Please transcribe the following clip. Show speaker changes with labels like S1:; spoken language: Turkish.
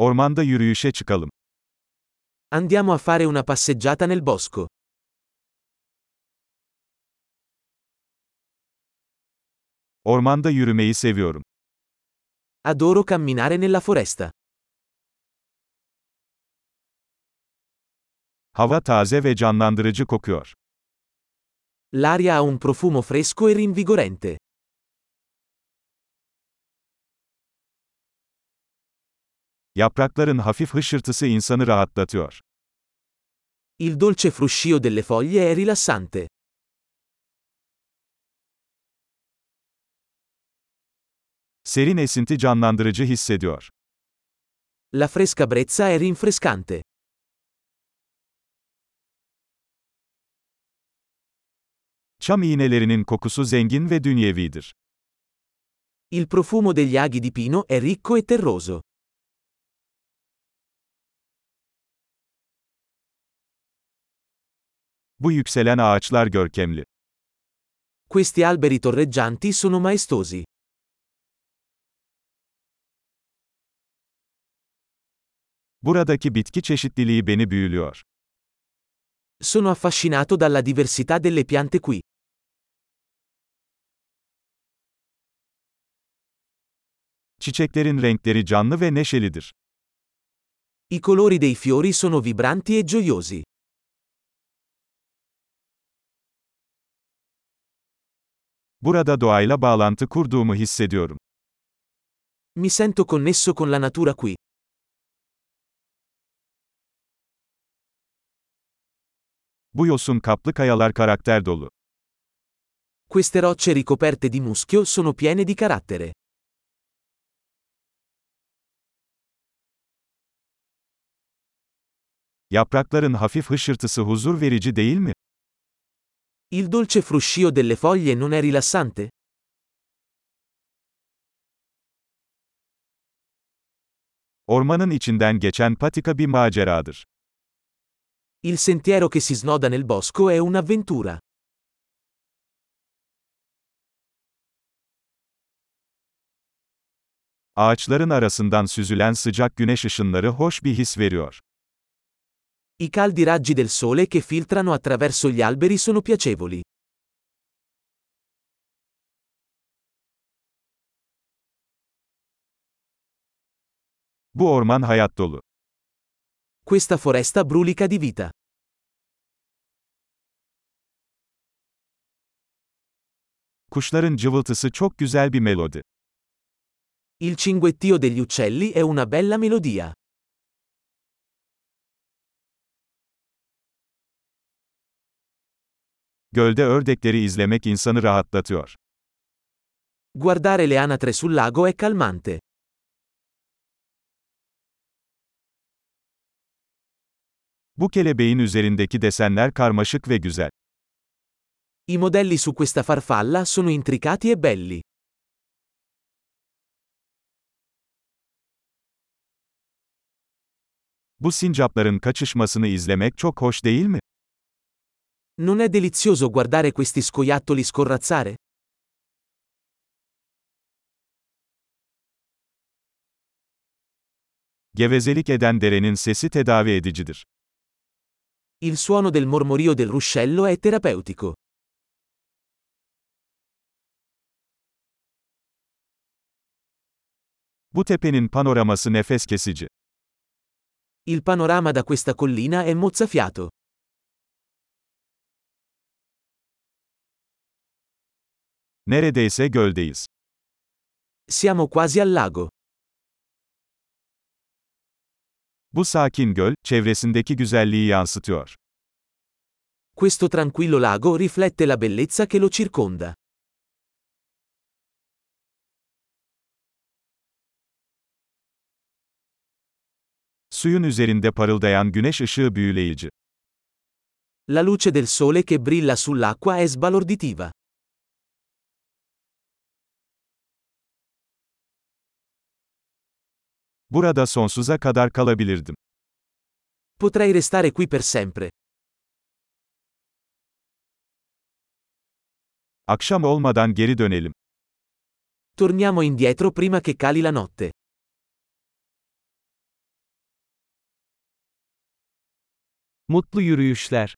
S1: Ormanda yürüyüşe çıkalım.
S2: Andiamo a fare una passeggiata nel bosco.
S1: Ormanda yürümeyi seviyorum.
S2: Adoro camminare nella foresta.
S1: Hava taze ve canlandırıcı kokuyor.
S2: L'aria ha un profumo fresco e rinvigorente.
S1: Yaprakların hafif hışırtısı insanı rahatlatıyor.
S2: Il dolce fruscio delle foglie è rilassante.
S1: Serin esinti canlandırıcı hissediyor.
S2: La fresca brezza è rinfrescante.
S1: Çam iğnelerinin kokusu zengin ve dünyevidir.
S2: Il profumo degli aghi di pino è ricco e terroso.
S1: Bu yükselen ağaçlar görkemli.
S2: Questi alberi torreggianti sono maestosi.
S1: Buradaki bitki çeşitliliği beni büyülüyor.
S2: Sono affascinato dalla diversità delle piante qui.
S1: Çiçeklerin renkleri canlı ve neşelidir.
S2: I colori dei fiori sono vibranti e gioiosi.
S1: Burada doğayla bağlantı kurduğumu hissediyorum.
S2: Mi sento connesso con la natura qui.
S1: Bu yosun kaplı kayalar karakter dolu.
S2: Queste rocce ricoperte di muschio sono piene di carattere.
S1: Yaprakların hafif hışırtısı huzur verici değil mi?
S2: Il dolce fruscio delle foglie non è rilassante?
S1: Ormanın içinden geçen patika bir maceradır.
S2: Il sentiero che si snoda nel bosco è un'avventura.
S1: Ağaçların arasından süzülen sıcak güneş ışınları hoş bir his veriyor.
S2: I caldi raggi del sole che filtrano attraverso gli alberi sono piacevoli.
S1: Bu orman hayat dolu.
S2: Questa foresta brulica di vita.
S1: Kuşların cıvıltısı çok güzel bir melodi.
S2: Il cinguettio degli uccelli è una bella melodia.
S1: Gölde ördekleri izlemek insanı rahatlatıyor.
S2: Guardare le anatre sul lago è calmante.
S1: Bu kelebeğin üzerindeki desenler karmaşık ve güzel.
S2: I modelli su questa farfalla sono intricati e belli.
S1: Bu sincapların kaçışmasını izlemek çok hoş değil mi?
S2: Non è delizioso guardare questi scoiattoli scorrazzare?
S1: Gevezelik eden derenin sesi tedavi edicidir.
S2: Il suono del mormorio del ruscello è terapeutico.
S1: Bu tepenin panoraması nefes kesici.
S2: Il panorama da questa collina è mozzafiato.
S1: Neredeyse göldeyiz.
S2: Siamo quasi al lago.
S1: Bu sakin göl, çevresindeki güzelliği yansıtıyor.
S2: Questo tranquillo lago riflette la bellezza che lo circonda.
S1: Suyun üzerinde parıldayan güneş ışığı büyüleyici.
S2: La luce del sole che brilla sull'acqua è sbalorditiva.
S1: Burada sonsuza kadar kalabilirdim.
S2: Potrei restare qui per sempre.
S1: Akşam olmadan geri dönelim.
S2: Torniamo indietro prima che cali la notte.
S1: Mutlu yürüyüşler.